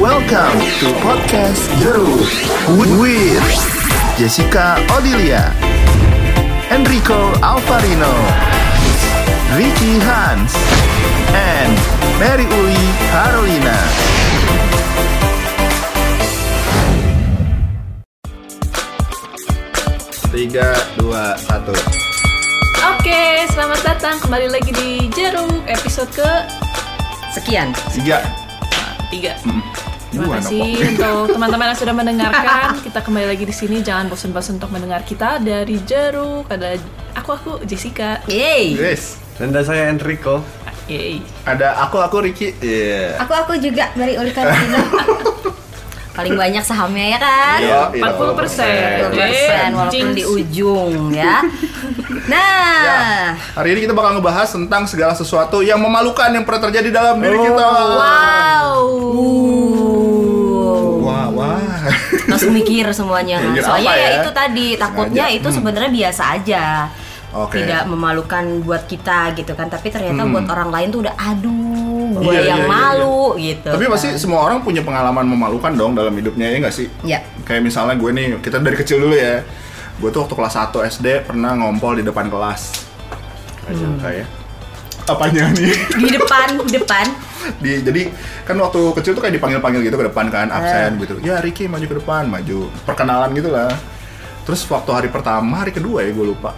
Welcome to podcast Jeruk with Jessica Odilia, Enrico Alvarino, Ricky Hans, and Mary Uli Carolina. Tiga, dua, satu. Oke, selamat datang kembali lagi di Jeruk episode ke Sekian. Tiga. tiga. Dua, Terima kasih nopo. untuk teman-teman yang sudah mendengarkan. Kita kembali lagi di sini. Jangan bosan-bosan untuk mendengar kita dari Jeruk. Ada aku aku Jessica. Yeay. Yes. Dan saya Enrico. Yay. Ada aku, aku Ricky. Iya. Aku aku juga dari Uli Karolina. Paling banyak sahamnya ya kan? Iya, iya. 40 persen. 20% walaupun di ujung Ya. ya. Nah, Hari ini kita bakal ngebahas tentang segala sesuatu yang memalukan yang pernah terjadi dalam diri kita. wow. Wah, wah. Langsung mikir semuanya. Uh. Mikir Soalnya apa ya ya? itu tadi Sengaja. takutnya Hmm. itu sebenarnya biasa aja. Oke. Tidak memalukan buat kita gitu kan, tapi ternyata Hmm. buat orang lain tuh udah aduh, gue Iya, iya, iya, yang malu gitu. Tapi kan. pasti semua orang punya pengalaman memalukan dong dalam hidupnya ya nggak sih? Iya. Kayak misalnya gue nih, kita dari kecil dulu ya. Gue tuh waktu kelas 1 SD pernah ngompol di depan kelas. Kayak kayak apanya nih? di depan, di depan. di jadi kan waktu kecil tuh kayak dipanggil-panggil gitu ke depan kan absen gitu ya Ricky maju ke depan maju perkenalan gitu lah terus waktu hari pertama hari kedua ya gue lupa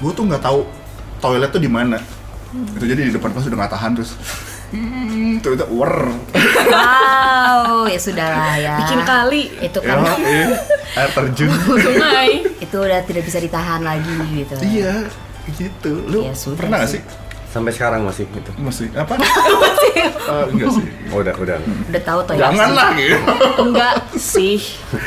gue tuh nggak tahu toilet tuh di mana itu jadi di depan pas udah nggak tahan terus hmm, terus itu wer Wow, ya sudah lah ya. Bikin kali Itu ya, kan eh, air terjun sungai. itu udah tidak bisa ditahan lagi gitu. iya gitu lu Ya, sudah pernah nggak sih. sih Sampai sekarang masih gitu. masih apa Eh, enggak sih Oh, udah, udah. Udah tahu ya. toilet. jangan sih. lah gitu Enggak sih.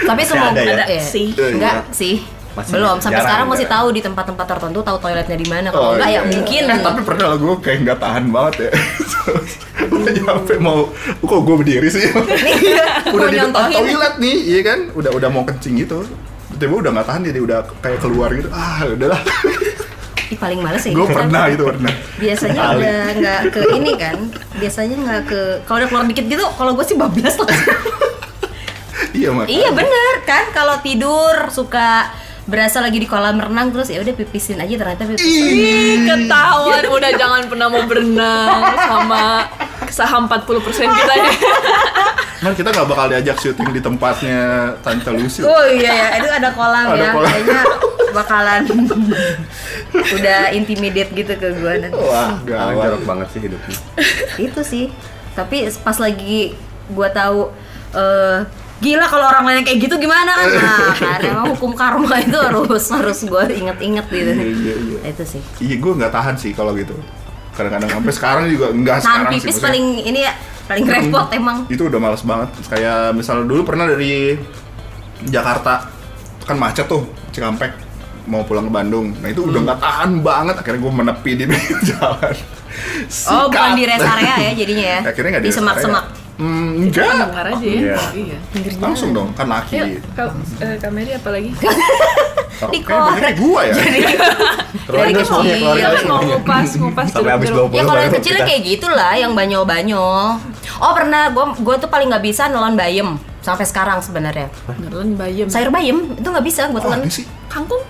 Tapi semua ada ya? iya. Sih. Enggak Iya. sih. Masih Belum sampai jarang, sekarang masih jarang. tahu di tempat-tempat tertentu tahu toiletnya di mana. Kalau enggak ya ya. iya. mungkin. Eh, tapi pernah lah gue kayak nggak tahan banget ya udah nyampe mau kok gue berdiri sih udah di depan nyontohin. toilet nih iya kan udah udah mau kencing gitu tiba udah nggak tahan jadi udah kayak keluar gitu ah udahlah Ih, paling males ya. gue gitu. pernah itu pernah Biasanya Kali. udah nggak ke ini kan. Biasanya nggak ke kalau udah keluar dikit gitu kalau gue sih bablas langsung. iya mak Iya bener kan kalau tidur suka berasa lagi di kolam renang terus ya udah pipisin aja ternyata pipisin. Ih, ketahuan udah jangan pernah mau berenang sama saham 40 persen kita ya. kan kita nggak bakal diajak syuting di tempatnya tante Lucy Oh iya ya, itu ada kolam Ada ya. kolam. Kayaknya bakalan udah intimidate gitu ke gua nanti. wah Paling gawat jorok banget sih hidupnya. Itu sih. Tapi pas lagi gua tahu eh gila kalau orang lain kayak gitu gimana kan? Nah, kan emang hukum karma itu harus harus gua inget-inget gitu. Iya, iya, iya. Itu sih. iya gue nggak tahan sih kalau gitu kadang-kadang sampai sekarang juga enggak Tahan sekarang sih pipis maksudnya. paling ini ya paling repot emang. itu udah males banget kayak misalnya dulu pernah dari Jakarta kan macet tuh Cikampek mau pulang ke Bandung nah itu udah nggak tahan banget akhirnya gue menepi di pinggir jalan Oh, Sikat. bukan di rest area ya jadinya ya. akhirnya nggak di rest area. semak-semak. Hmm, enggak Dengar aja ya. Iya. Iya. langsung dong kan laki Yuk, Kak eh, Kak Mary apa lagi? Oke, Diko. banyak kayak gua ya Dari Keluarin dulu semuanya, kecil. keluarin Iya, kan dulu mau semuanya. ngupas, ngupas Sampai habis jeruk-jeruk. Ya 20 kalau baru yang kecilnya kita- kayak gitulah, yang banyol-banyol. Oh pernah, gue gue tuh paling nggak bisa nelan bayem sampai sekarang sebenarnya. Beneran bayem. Sayur bayem itu nggak bisa gue Oh, telan. ini sih kangkung.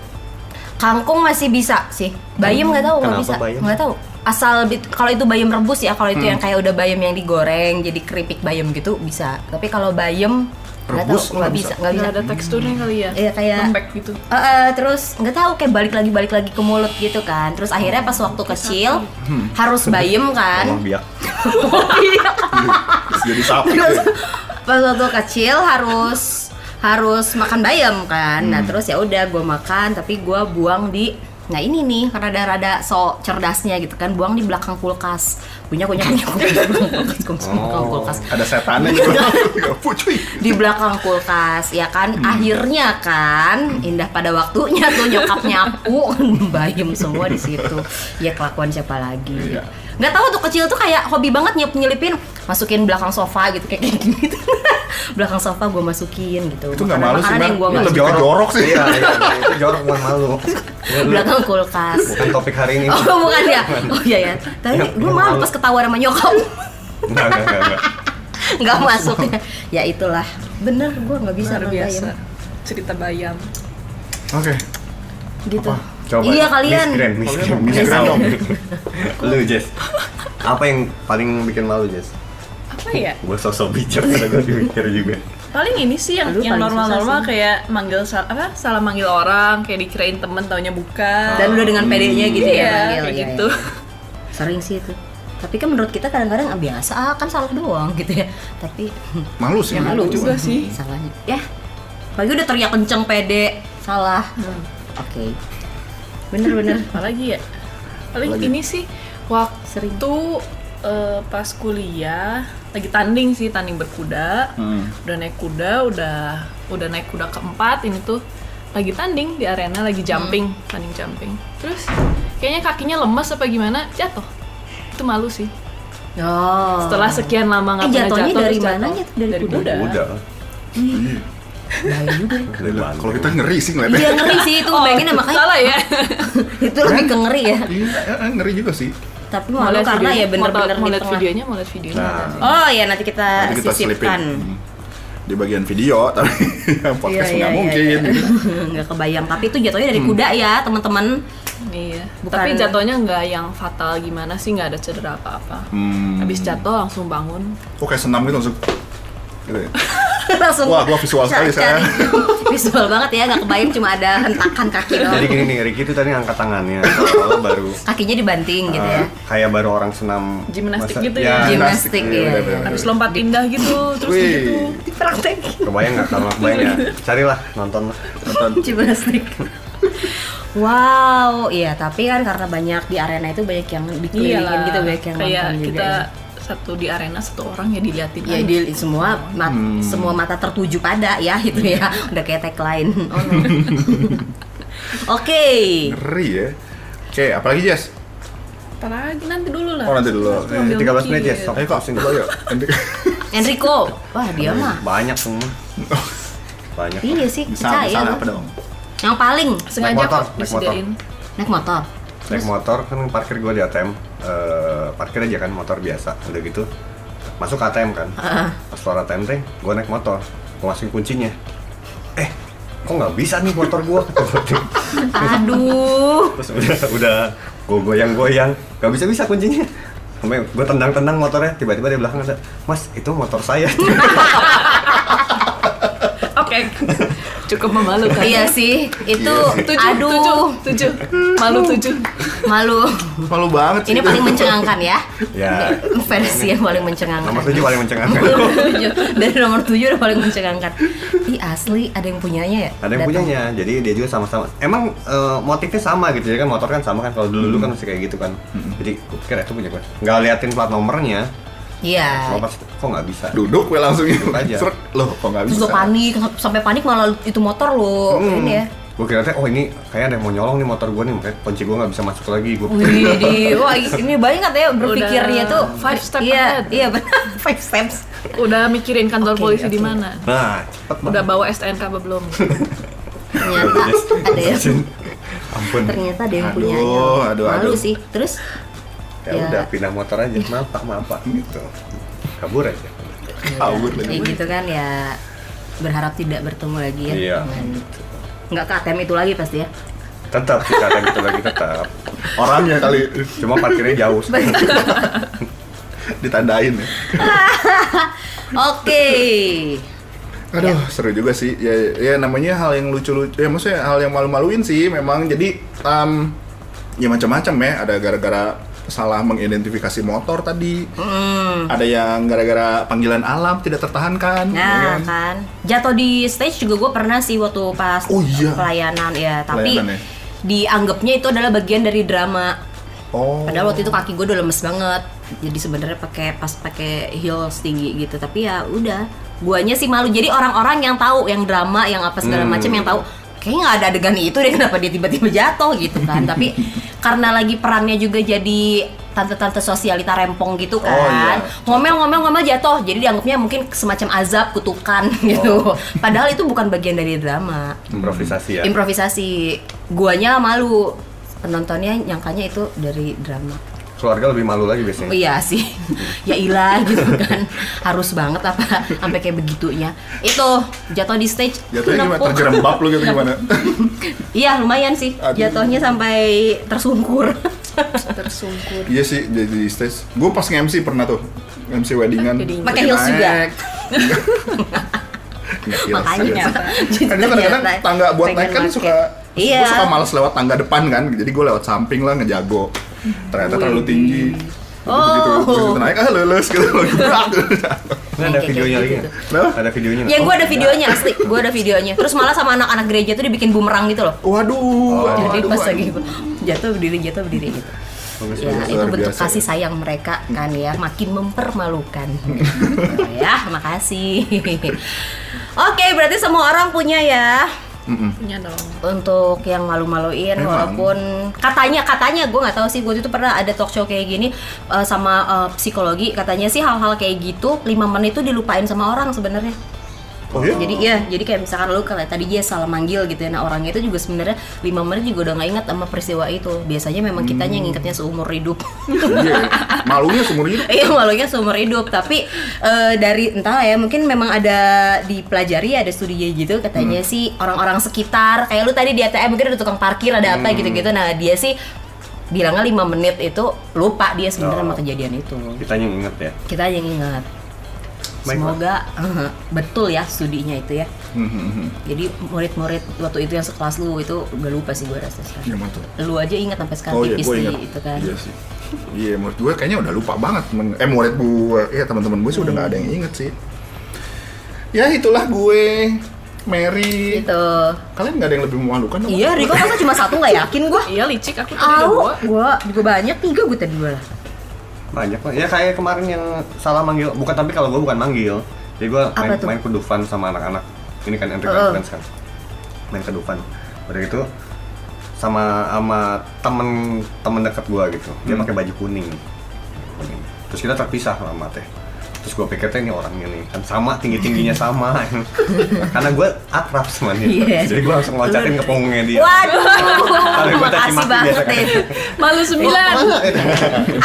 Kangkung masih bisa sih, bayem nggak tahu nggak Kenapa bisa, bayem? nggak tahu. Asal bit- kalau itu bayem rebus ya, kalau itu yang kayak udah bayem yang digoreng jadi keripik bayem gitu bisa. Tapi kalau bayem nggak tahu Rebus lu nggak nggak bisa bisa? nggak bisa. Nggak ada teksturnya kali ya. Iya, kayak- lembek gitu. Eh, eh, terus nggak tahu kayak balik lagi balik lagi ke mulut gitu kan. Terus akhirnya pas waktu kecil harus bayem kan. Oh. Ngomong biak. Terus jadi sapi tuh. pas waktu kecil harus harus makan bayam kan nah terus ya udah gue makan tapi gue buang di nah ini nih rada-rada so cerdasnya gitu kan buang di belakang kulkas punya punya punya punya kulkas kulkas, belakang kulkas ada setannya juga pucuy di belakang kulkas ya kan Hmm. akhirnya kan indah pada waktunya tuh nyokap nyapu bayam semua di situ ya kelakuan siapa lagi Iya. nggak tahu tuh kecil tuh kayak hobi banget nyelip nyelipin masukin belakang sofa gitu kayak kayak gitu belakang sofa gue masukin gitu Itu nggak malu sih, Makanan-makanan Mer. yang gua Itu masukin. Lebih ke jorok sih. Iya, iya, itu jorok bukan malu. Lihat dulu. belakang kulkas Bukan topik hari ini. oh bukan ya oh iya ya tapi Yang- gue yang malu malu. pas ketawa sama nyokap Enggak, enggak, enggak, enggak. nggak masuk ya itulah bener gue nggak bisa Luar ngebayang. biasa. Cerita bayam. Oke. gitu Apa? Coba. ya. iya kalian Miss Grand, Miss Grand, Miss Miss Grand. Grand. Lu Jess, apa yang paling bikin malu Jess? Apa ya? Iya. Gue sosok bijak, karena gue mikir juga. Paling ini sih yang Lu yang paling normal-normal susah sih. kayak manggil sal apa salah manggil orang, kayak dikirain temen taunya bukan. dan udah dengan pedenya gitu iya, ya manggil. kayak Iya, gitu. iya. sering sih itu tapi kan menurut kita kadang-kadang ah, biasa ah, kan salah doang gitu ya tapi Malu sih. ya malu malu juga sih. salahnya ya lagi udah teriak kenceng pede salah Hmm. oke bener-bener Apalagi ya? Paling Apalagi? ini sih waktu Sering. eh, pas kuliah lagi tanding sih, tanding berkuda. Hmm. Udah naik kuda, udah udah naik kuda keempat ini tuh lagi tanding di arena lagi jumping, tanding jumping. Terus kayaknya kakinya lemes apa gimana, jatuh. Itu malu sih. oh Setelah sekian lama nggak Eh, pernah jatuhnya jatuh. dari terus mana jatuh. jatuh? Dari kuda? kuda. Udah. Bahaya juga. Gila, Kalau kita ngeri sih iya ngeliatnya. ngeri sih Oh, itu pengen makanya Salah ya. itu lebih ke ngeri ya Iya, eh, ngeri juga sih. tapi malu karena ya bener-bener mau di lihat tengah videonya, mau lihat videonya. Nah. oh ya nanti kita, Nanti kita sisipkan Iya, selipin Hmm. di bagian video, tapi Iya, podcast nggak mungkin. Hmm. gitu. nggak kebayang tapi itu jatuhnya dari kuda ya teman-teman Iya. Bukan- Tapi jatuhnya nggak yang fatal gimana sih, nggak ada cedera apa-apa. Hmm. Habis jatuh langsung bangun. iya. Kok kayak senam gitu langsung. Gitu ya. langsung Wah, gua visual cari- sekali, saya. cari. visual banget ya nggak kebayang cuma ada hentakan kaki doang Jadi gini nih, Ricky itu tadi angkat tangannya, kalau baru kakinya dibanting gitu eh, ya kayak baru orang senam Gimnastik masa- gitu ya. gimnastik Iya, ya bener-bener. Habis lompat indah gitu, terus Wih. gitu. nah, Kebayang nggak kalau nggak kebayang ya? Carilah nonton lah. iya. gimnastik wow iya tapi kan karena banyak di arena itu banyak yang dikelilingin Iyalah. gitu banyak yang Iya kayak nonton juga kita ya. satu di arena satu orang ya diliatin ya aja. di semua ma- Hmm. semua mata tertuju pada ya itu Iya. ya udah kayak tagline Oh, oke Ngeri ya. Oke, apalagi Jess? Apalagi nanti dulu lah. Oh, nanti dulu. Terus ngambil 13 menit mikir. ya, sok. Ayo kok, Pusing. coba yuk. Nanti Enrico wah dia Iya mah Iya, Banyak semua. Banyak. iya sih bisa, percaya bisa gua. apa dong? yang paling Sengaja motor, kok naik disediain. naik motor Naik motor kan parkir gue di ATM. Eh, parkir aja kan motor biasa. Udah gitu masuk ke ATM kan. Pas keluar ATM teh, gue naik motor. Gue masukin kuncinya. Eh, kok nggak bisa nih motor gue? aduh Terus udah udah gue goyang-goyang, nggak bisa-bisa kuncinya. Sampai gue tendang-tendang motornya, tiba-tiba di belakang ada, Mas itu motor saya. Oke. Cukup memalukan. Iya sih, itu Tujuh, aduh tujuh, tujuh. Malu tujuh. malu. Malu banget sih. Ini paling mencengangkan ya. ya. Versi yang paling mencengangkan. Nomor tujuh paling mencengangkan. Nomor tujuh. Dari nomor tujuh udah paling mencengangkan. Ih asli ada yang punyanya ya? Ada yang Datang. punyanya, jadi dia juga sama-sama. Emang eh, motifnya sama gitu, jadi kan motor kan sama kan. Kalau dulu dulu kan masih kayak gitu kan. Jadi gue pikir itu punya gue. Nggak liatin plat nomornya, Iya. kalau pas kok nggak bisa. duduk gue langsung gitu Duduk aja. Seret. Loh, kok nggak Terus bisa? lo panik, sampai panik malah itu motor lo. Ini ya. Gue kira teh, oh ini kayak ada yang mau nyolong nih motor gue nih, makanya kunci gue nggak bisa masuk lagi. Gue Wih, di- wah ini banyak ya berpikirnya Udah tuh five step iya, ahead. Iya, benar. Five steps. Udah mikirin kantor Oke, polisi di oke. mana? Nah, cepet Udah bawa STNK apa belum? Ternyata ada yang Ampun. ternyata ada yang Aduh, punyanya. aduh, aduh. Malu sih. Terus Ya, Iya. udah pindah motor aja, maaf pak, maaf pak, gitu. Kabur aja. Kabur lagi. Ya gitu kan ya berharap tidak bertemu lagi ya. Iya. dengan- Nggak ke ATM itu lagi pasti ya. Tetap sih kata gitu lagi tetap. Orangnya kali Cuma parkirnya jauh. ditandain ya. Oke. Aduh, seru juga sih. Ya, ya namanya hal yang lucu-lucu. Ya maksudnya hal yang malu-maluin sih memang. Jadi um, ya macam-macam ya. Ada gara-gara salah mengidentifikasi motor tadi. Ada yang gara-gara panggilan alam tidak tertahankan. ya Hmm. Nah kan? kan jatuh di stage juga gue pernah sih waktu pas Oh, iya. pelayanan ya tapi Pelayanan, ya. dianggapnya itu adalah bagian dari drama. Oh. Padahal waktu itu kaki gue udah lemes banget. Jadi sebenarnya pakai pas pakai heels tinggi gitu tapi ya udah. Guanya sih malu. Jadi orang-orang yang tahu yang drama yang apa segala macam yang tahu kayaknya nggak ada adegan itu deh kenapa dia tiba-tiba jatuh gitu kan. tapi karena lagi perannya juga jadi tante-tante sosialita rempong gitu iya. kan. Ngomel-ngomel-ngomel jatuh. Jadi dianggapnya mungkin semacam azab kutukan gitu. Padahal itu bukan bagian dari drama Improvisasi ya. improvisasi guanya malu penontonnya nyangkanya itu dari drama keluarga lebih malu lagi biasanya Iya sih, ya ilah gitu kan harus banget apa sampai kayak begitunya. Itu jatuh di stage. Jatuhnya gimana? nepuk. Terjerembab lu gitu gimana? Iya lumayan sih, Aduh. jatuhnya sampai tersungkur. tersungkur Iya sih, jadi stage. Gue pas nge-MC pernah tuh, nge-MC weddingan. Wedding. Pakai heels juga. Nggak heels, nggak Makanya. Jadi heels. Iya, Kan dia kadang-kadang ternyata tangga buat pengen naik kan pakai. suka Iya. Gue suka males lewat tangga depan kan, jadi gue lewat samping lah ngejago. Ternyata terlalu tinggi. Gitu-gitu. Oh. Terus kita naik, ah lulus gitu. Ini ada Kayak- videonya kayak lagi gitu. nggak? Ada videonya nggak? Ya Oh, gue ada iya. videonya asli, gue ada videonya. Terus malah sama anak-anak gereja tuh dibikin bumerang gitu loh. Waduh. Jadi waduh, pas waduh. lagi jatuh berdiri jatuh berdiri gitu. Bagus, Ya, bagus. itu luar bentuk biasa kasih ya. sayang mereka kan ya, makin mempermalukan. Gitu ya, makasih. Oke, berarti semua orang punya ya Mm-mm. punya dong untuk yang malu-maluin Memang. walaupun katanya katanya gue nggak tahu sih gue itu pernah ada talk show kayak gini eh, sama eh, psikologi katanya sih hal-hal kayak gitu 5 menit itu dilupain sama orang sebenarnya Oh iya? jadi ya jadi kayak misalkan lu kayak tadi dia salah manggil gitu ya nah orangnya itu juga sebenarnya 5 menit juga udah nggak ingat sama peristiwa itu biasanya memang kitanya yang ingatnya seumur hidup Iya. Malunya seumur hidup. Iya malunya seumur hidup tapi eh, dari entah ya mungkin memang ada dipelajari ada studinya gitu katanya sih orang-orang sekitar kayak lu tadi di ATM mungkin ada tukang parkir ada apa gitu-gitu nah dia sih bilangnya lima menit itu lupa dia sebenarnya sama Oh. kejadian itu Kita yang inget ya. kita yang ingat Baiklah. semoga betul ya studinya itu ya Mhm. jadi murid-murid waktu itu yang sekelas lu itu udah lupa sih gue rasa sekarang Iya mantap. lu aja ingat sampai sekarang Oh iya, tipis gue di ingat. itu kan Iya sih. Iya, menurut gue kayaknya udah lupa banget. temen- eh, murid gue, ya teman-teman gue sih udah nggak ada Hmm. yang inget sih. Ya itulah gue, Mary. gitu Kalian nggak ada yang lebih memalukan? apa? iya Riko masa cuma satu nggak yakin gue iya licik aku tadi udah Au, bawa gua juga banyak tiga gua tadi dua lah. Banyak lah. Ya kayak kemarin yang salah manggil. Bukan tapi kalau gue bukan manggil. Jadi gue Apa main, tuh? Oh, main kedufan sama anak-anak. Ini kan entry Heeh. conference kan. Main kedufan. Udah gitu sama sama temen temen dekat gue gitu. Dia Hmm. pakai baju kuning. Kuning. Terus kita terpisah sama teh. Terus gue pikir teh ini orangnya nih kan sama tinggi tingginya sama. Karena gue akrab sama dia. Iya. Jadi gue langsung loncatin ke punggungnya Iya. dia. Waduh, Tapi gua caci makasih maki banget biasa kan. deh. malu sembilan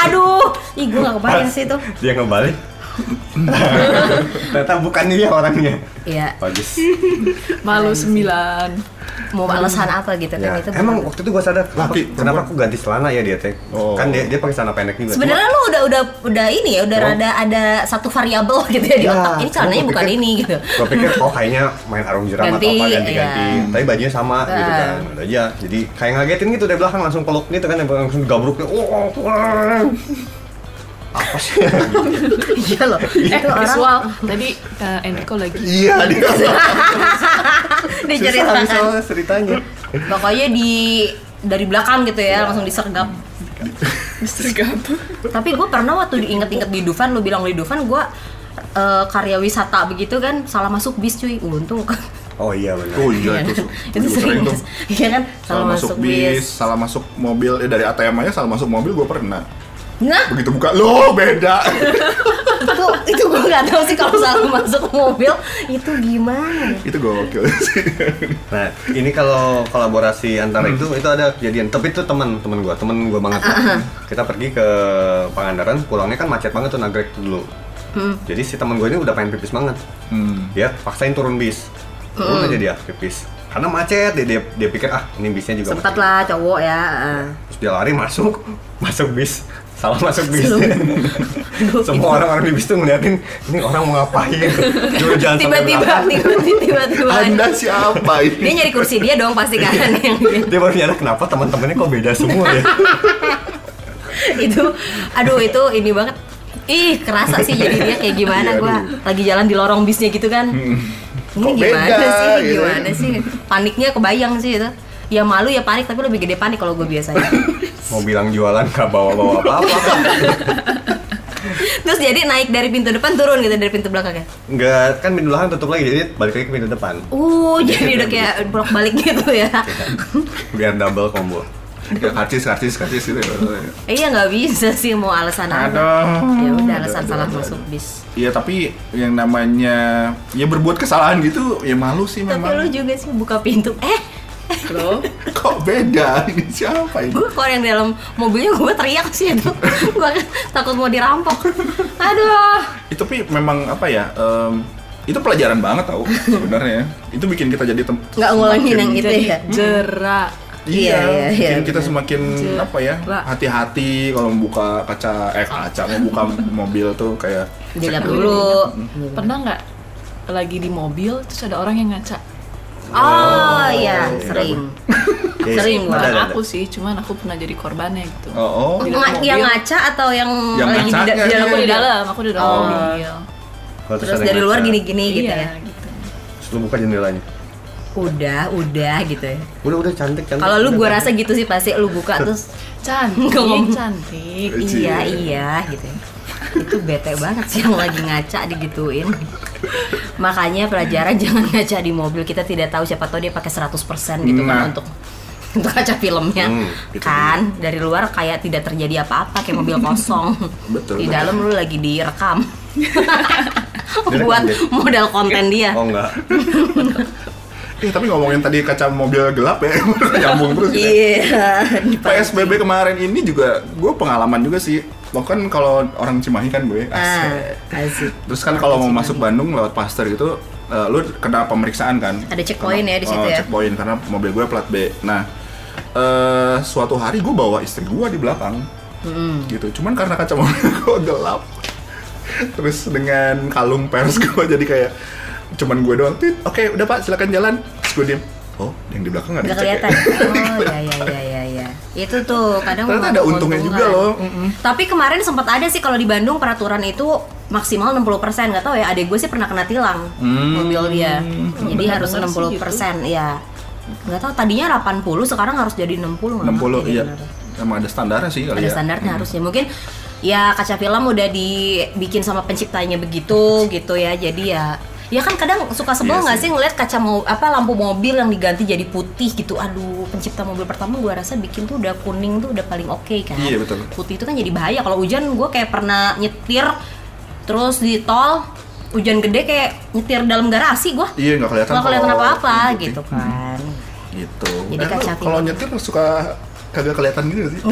Aduh, ih gua gak kebayang sih itu. Dia ngebalik. Ternyata bukan dia orangnya. Iya, Bagus. malu sembilan mau alasan apa gitu kan Iya. Ya, itu. emang waktu itu gua sadar kenapa, Laki, kenapa perempuan. aku ganti celana ya dia teh. Oh. Kan dia dia pakai celana pendek juga. Sebenarnya lu udah udah udah ini ya, udah Emang- rada ada satu variabel gitu ya di Ya, otak. Ini celananya gua bukan pikir- ini gitu. gue pikir oh kayaknya main arung jeram atau Ganti, apa ganti-ganti. iya. Tapi bajunya sama gitu Ah. kan. Udah aja. Jadi kayak ngagetin gitu dari belakang langsung peluk gitu kan langsung gabruknya. Oh, oh, apa sih? Iya loh. eh Itu orang visual tadi eh, Enrico lagi Iya, dia. Susah diceritakan. misalnya ceritanya. kan. Pokoknya di dari belakang gitu ya, langsung disergap. Mister Gato Tapi gue pernah waktu diinget-inget di Dufan, lu bilang di Dufan, gue karya wisata begitu kan, salah masuk bis cuy. Untung kan. Oh iya benar. Oh iya, itu, itu juga sering tuh. iya kan Salah masuk bis, salah masuk mobil. Eh, dari ATM aja salah masuk mobil gue pernah. nah Begitu buka, loh beda. itu itu gue nggak tahu sih kalau salah masuk mobil itu gimana itu gokil sih. Nah, ini kalau kolaborasi antara itu itu ada kejadian. Tapi itu teman teman gua, teman gua banget. Ah, Kita pergi ke Pangandaran, pulangnya kan macet banget tuh nagrek dulu. Hmm. Jadi si teman gua ini udah pengen pipis banget. Hmm. Dia paksain turun bis. Turun Hmm. aja dia pipis. Karena macet, dia, dia, dia pikir ah ini bisnya juga sempat macet. lah cowok ya eh. Terus dia lari masuk, masuk bis. Salah masuk bis. Belum. Semua orang-orang di bis tuh ngeliatin ini orang mau ngapain. Dulu jangan sampai tiba-tiba belakang. tiba-tiba tiba Anda Iya. siapa dia ini? nyari kursi dia dong pasti kan yang Dia baru nyadar kenapa teman-temannya kok beda semua ya. itu aduh itu ini banget ih kerasa sih jadi dia kayak gimana Iya, gua aduh. Hmm. lagi jalan di lorong bisnya gitu kan ini Kok gimana beda, sih gitu. gimana sih paniknya kebayang sih itu ya malu ya panik tapi lebih gede panik kalau gue biasanya mau bilang jualan gak bawa-bawa apa-apa Terus jadi naik dari pintu depan turun gitu dari pintu belakang ya. nggak kan pintu belakang tutup lagi jadi balik lagi ke pintu depan Uh, jadi udah kayak bolak balik gitu ya. biar double combo Ya, Karcis, karcis, karcis gitu. iya nggak bisa sih mau alasan apa. Aduh. Ya udah alasan Aduh, salah aduh, masuk aduh. bis. Iya tapi yang namanya ya berbuat kesalahan gitu ya malu sih Tapi memang. lu juga sih buka pintu. Eh, bro Kok beda? Ini siapa ini? gue kalau yang di dalam mobilnya gue teriak sih itu gue takut mau dirampok aduh itu tapi memang apa ya em, itu pelajaran banget tau sebenarnya itu bikin kita jadi tem- nggak ngulangin semakin- yang itu ya jerak iya, Iya, iya, iya, bikin kita benar. semakin Jerak. apa ya hati-hati kalau membuka kaca eh kaca membuka mobil tuh kayak jaga dulu pernah nggak lagi di mobil terus ada orang yang ngaca oh iya enggak, sering Iya, Sering ada, bukan ada, ada. aku sih cuman aku pernah jadi korbannya gitu oh, oh. Di dalam Nga- yang mobil. ngaca atau yang Yang lagi di, ngacanya, da- di dalam iya. aku di mobil? dalam aku di dalam Oh. mobil Kalau terus ada dari yang luar ngaca, gini-gini gitu ya Iya, gitu terus lu buka jendelanya udah udah gitu ya udah udah cantik cantik kalau lu udah, gue cantik. rasa gitu sih pasti lu buka terus cantik cantik Cie. iya iya gitu ya itu bete banget sih yang lagi ngaca digituin makanya pelajaran jangan ngaca di mobil kita tidak tahu siapa tahu dia pakai 100% gitu Nah. gitu kan untuk untuk kaca filmnya Hmm, itu kan dari luar kayak tidak terjadi apa-apa kayak mobil kosong Betul, di betul. dalam lu lagi direkam buat Direkam, modal konten dia oh enggak Eh, tapi ngomongin tadi kaca mobil gelap ya nyambung terus ya. iya dipancing. PSBB kemarin ini juga gue pengalaman juga sih lo kan kalau orang Cimahi kan gue ah asik. asik Terus kan kalau mau masuk Bandung lewat Pasteur gitu, eh, lu kena pemeriksaan kan? Ada checkpoint Karena- ya di situ oh, ya? Checkpoint karena mobil gue plat B. Nah, eh suatu hari gue bawa istri gue di belakang, gitu. Cuman karena kaca mobil gue gelap, terus dengan kalung pers gue jadi kayak cuman gue doang. "Tit, Oke, udah pak, silakan jalan. Terus gue diem. Oh, yang di belakang nggak nggak dicek ya?" kelihatan oh ya ya ya ya ya itu tuh kadang Ternyata memang ada untungnya keuntungan. juga loh, mm-mm. tapi kemarin sempat ada sih kalau di Bandung peraturan itu maksimal 60% nggak tahu ya adek gue sih pernah kena tilang Hmm. mobil dia jadi Benar harus banget sih 60% ya nggak tahu tadinya 80 sekarang harus jadi 60 60 nggak ngerti deh iya. benar. Emang ada standarnya sih kali ada ya. standarnya harusnya mungkin ya kaca film udah dibikin sama penciptanya begitu gitu ya jadi ya ya kan kadang suka sebel Iya nggak sih. sih ngeliat kaca mau apa lampu mobil yang diganti jadi putih gitu aduh pencipta mobil pertama gua rasa bikin tuh udah kuning tuh udah paling oke kan Iya, betul. putih itu kan jadi bahaya kalau hujan gua kayak pernah nyetir terus di tol hujan gede kayak nyetir dalam garasi gua Iya, nggak kelihatan. Hmm. nggak kelihatan kalau apa-apa yang putih. gitu kan gitu Jadi Eh, lu kaca kalau film. nyetir suka kagak kelihatan gitu sih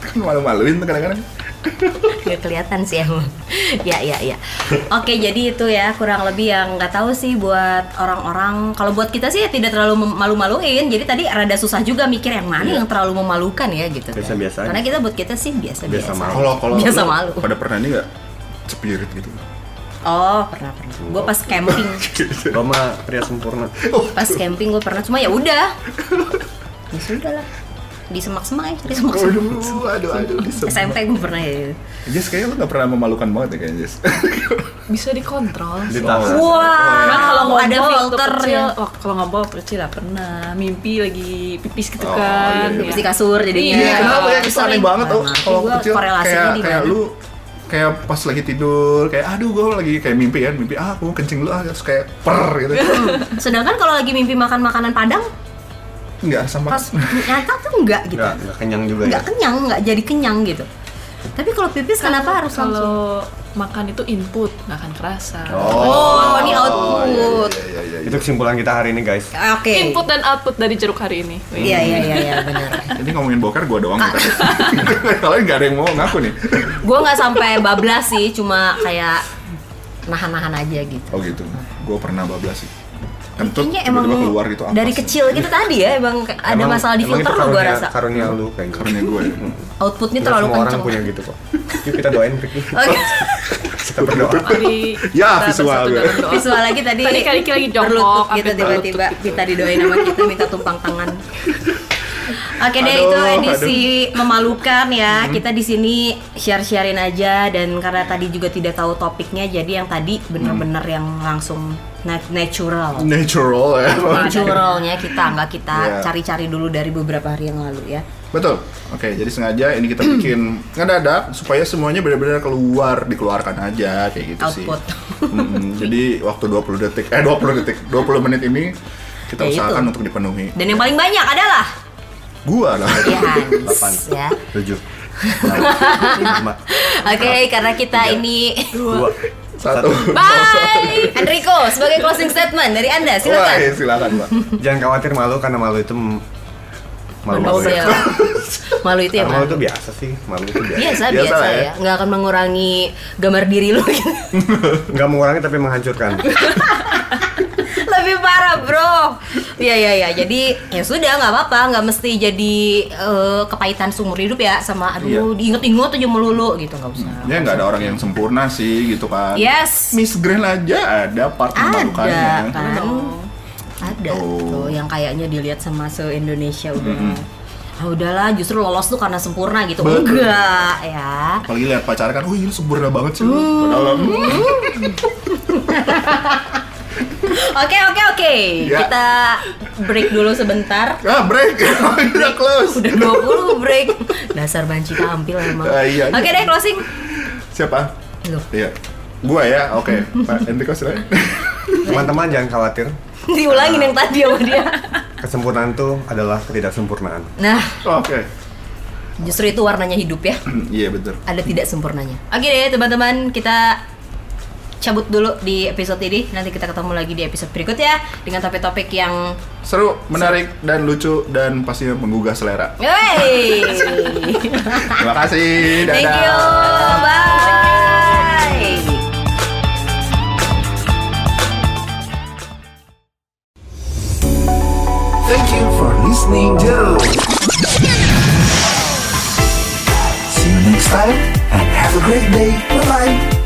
kan malu-maluin tuh kadang-kadang Gak kelihatan sih emang. ya ya ya. Oke jadi itu ya kurang lebih yang nggak tahu sih buat orang-orang. Kalau buat kita sih ya tidak terlalu mem- malu-maluin. Jadi tadi rada susah juga mikir yang mana Iya. yang terlalu memalukan ya gitu. kan. Biasa-biasa aja. Karena kita buat kita sih biasa-biasa. Biasa malu. kalau kalau Biasa lu malu. pada pernah ini nggak spirit gitu Oh pernah pernah. Gue pas camping, gua mah pria sempurna pas camping gue pernah. Cuma ya udah. Ya sudah lah. Di semak-semak ya, di semak-semak. aduh aduh aduh disebut SMP gue pernah ya. Jess kayaknya lu nggak pernah memalukan banget ya kayaknya Jess Oh, ya. bisa dikontrol ditahan Wah, Cuman kalau kalau ada ngomong waktu filter kecil, ya. wak- kalau ngomong waktu kecil gak pernah mimpi lagi pipis gitu Oh, iya, kan. iya. ya. Pipis di kasur jadinya. iya kenapa ya itu aneh Sering. banget tuh kalau Nggak ngerti Nah, gua kecil korelasinya kayak di kayak mana. lu kayak pas lagi tidur kayak aduh gue lagi kayak mimpi kan mimpi ah gue kencing lu ah terus kayak per gitu Sedangkan kalau lagi mimpi makan makanan Padang, nggak sama pas nyata tuh enggak gitu. nggak nggak kenyang juga ya Enggak kenyang, enggak jadi kenyang gitu. Tapi kalau pipis kenapa harus langsung? Kalau makan itu input, gak akan kerasa. Oh, Oh, ini iya, output. iya, iya, iya, iya. itu kesimpulan kita hari ini guys Oke. Input dan output dari jeruk hari ini. Iya, iya, iya, iya, benar. Ini ngomongin boker gue doang kita. Kalian gak ada yang mau ngaku nih. Gua nggak sampai bablas sih, cuma kayak nahan-nahan aja gitu. Oh gitu. Gue pernah bablas sih. Kentut Kayaknya tiba-tiba emang keluar gitu apa dari sih? kecil gitu tadi ya emang ada Emang- masalah di emang itu filter lo gua karunia- rasa. karunia lu kayaknya Karena gue. Outputnya Nggak terlalu semua kenceng. orang Oh, iya. punya gitu kok yuk kita doain Ricky Oke. kita berdoa Jadi Ya, kita visual bersatu gue. dalam doa. Visual lagi tadi. Tadi kali lagi jongkok, berlutut gitu sampai tiba-tiba berlutut gitu. kita didoain sama kita minta tumpang tangan. Oke deh Aduh, itu edisi memalukan ya. Kita di sini share-sharein aja dan karena tadi juga tidak tahu topiknya jadi yang tadi bener-bener yang langsung na- natural. Natural ya. Naturalnya kita nggak kita Iya. cari-cari dulu dari beberapa hari yang lalu ya. Betul. Oke, jadi sengaja ini kita bikin ngedadak supaya semuanya benar-benar keluar, dikeluarkan aja kayak gitu sih. Output. Mm, jadi waktu 20 detik, eh 20 detik, 20 menit ini kita Ya, itu. usahakan untuk dipenuhi. Dan yang paling banyak adalah Gua lah. ya Hans, Delapan. ya. tujuh enam, lima Oke, karena kita ini dua Satu. Bye. Enrico sebagai closing statement dari anda Wah, silakan. ya, silakan, Mbak. Jangan khawatir malu karena malu itu m- malu-malu. Malu, ya. malu itu ya Karena malu itu malu. biasa sih, malu itu biasa. Biasa, biasa, Biasa lah ya. ya. Nggak akan mengurangi gambar diri lu gitu. Nggak mengurangi tapi menghancurkan. lebih parah bro Iya iya iya jadi ya sudah nggak apa-apa nggak mesti jadi eh, kepahitan seumur hidup ya sama aduh Iya. diinget-inget aja melulu gitu nggak usah Ya nggak ada orang yang sempurna sih gitu kan. Yes. Miss Grand aja ada part ada memalukannya. kan ada Gitu. tuh yang kayaknya dilihat sama se Indonesia udah ah udahlah justru lolos tuh karena sempurna gitu Betul. enggak ya Apalagi lihat pacarnya kan, oh ini sempurna banget sih. lu." Padahal hmm, oke oke oke Ya. kita break dulu sebentar ah break, udah close. udah 20 break dasar banci tampil emang Ah, iya. oke deh closing Siapa? Lu. Iya. Gua ya, oke. Pak ya? Enrico silakan. Teman-teman jangan khawatir. diulangin yang tadi sama dia Kesempurnaan itu adalah ketidaksempurnaan. nah Oke. justru itu warnanya hidup ya Iya betul. ada tidak sempurnanya oke deh teman-teman kita cabut dulu di episode ini nanti kita ketemu lagi di episode berikutnya dengan topik-topik yang Seru, menarik dan lucu dan pastinya menggugah selera. Wey! Terima kasih. Dadah. thank you bye Thank you for listening to. See you next time and have a great day. Bye bye.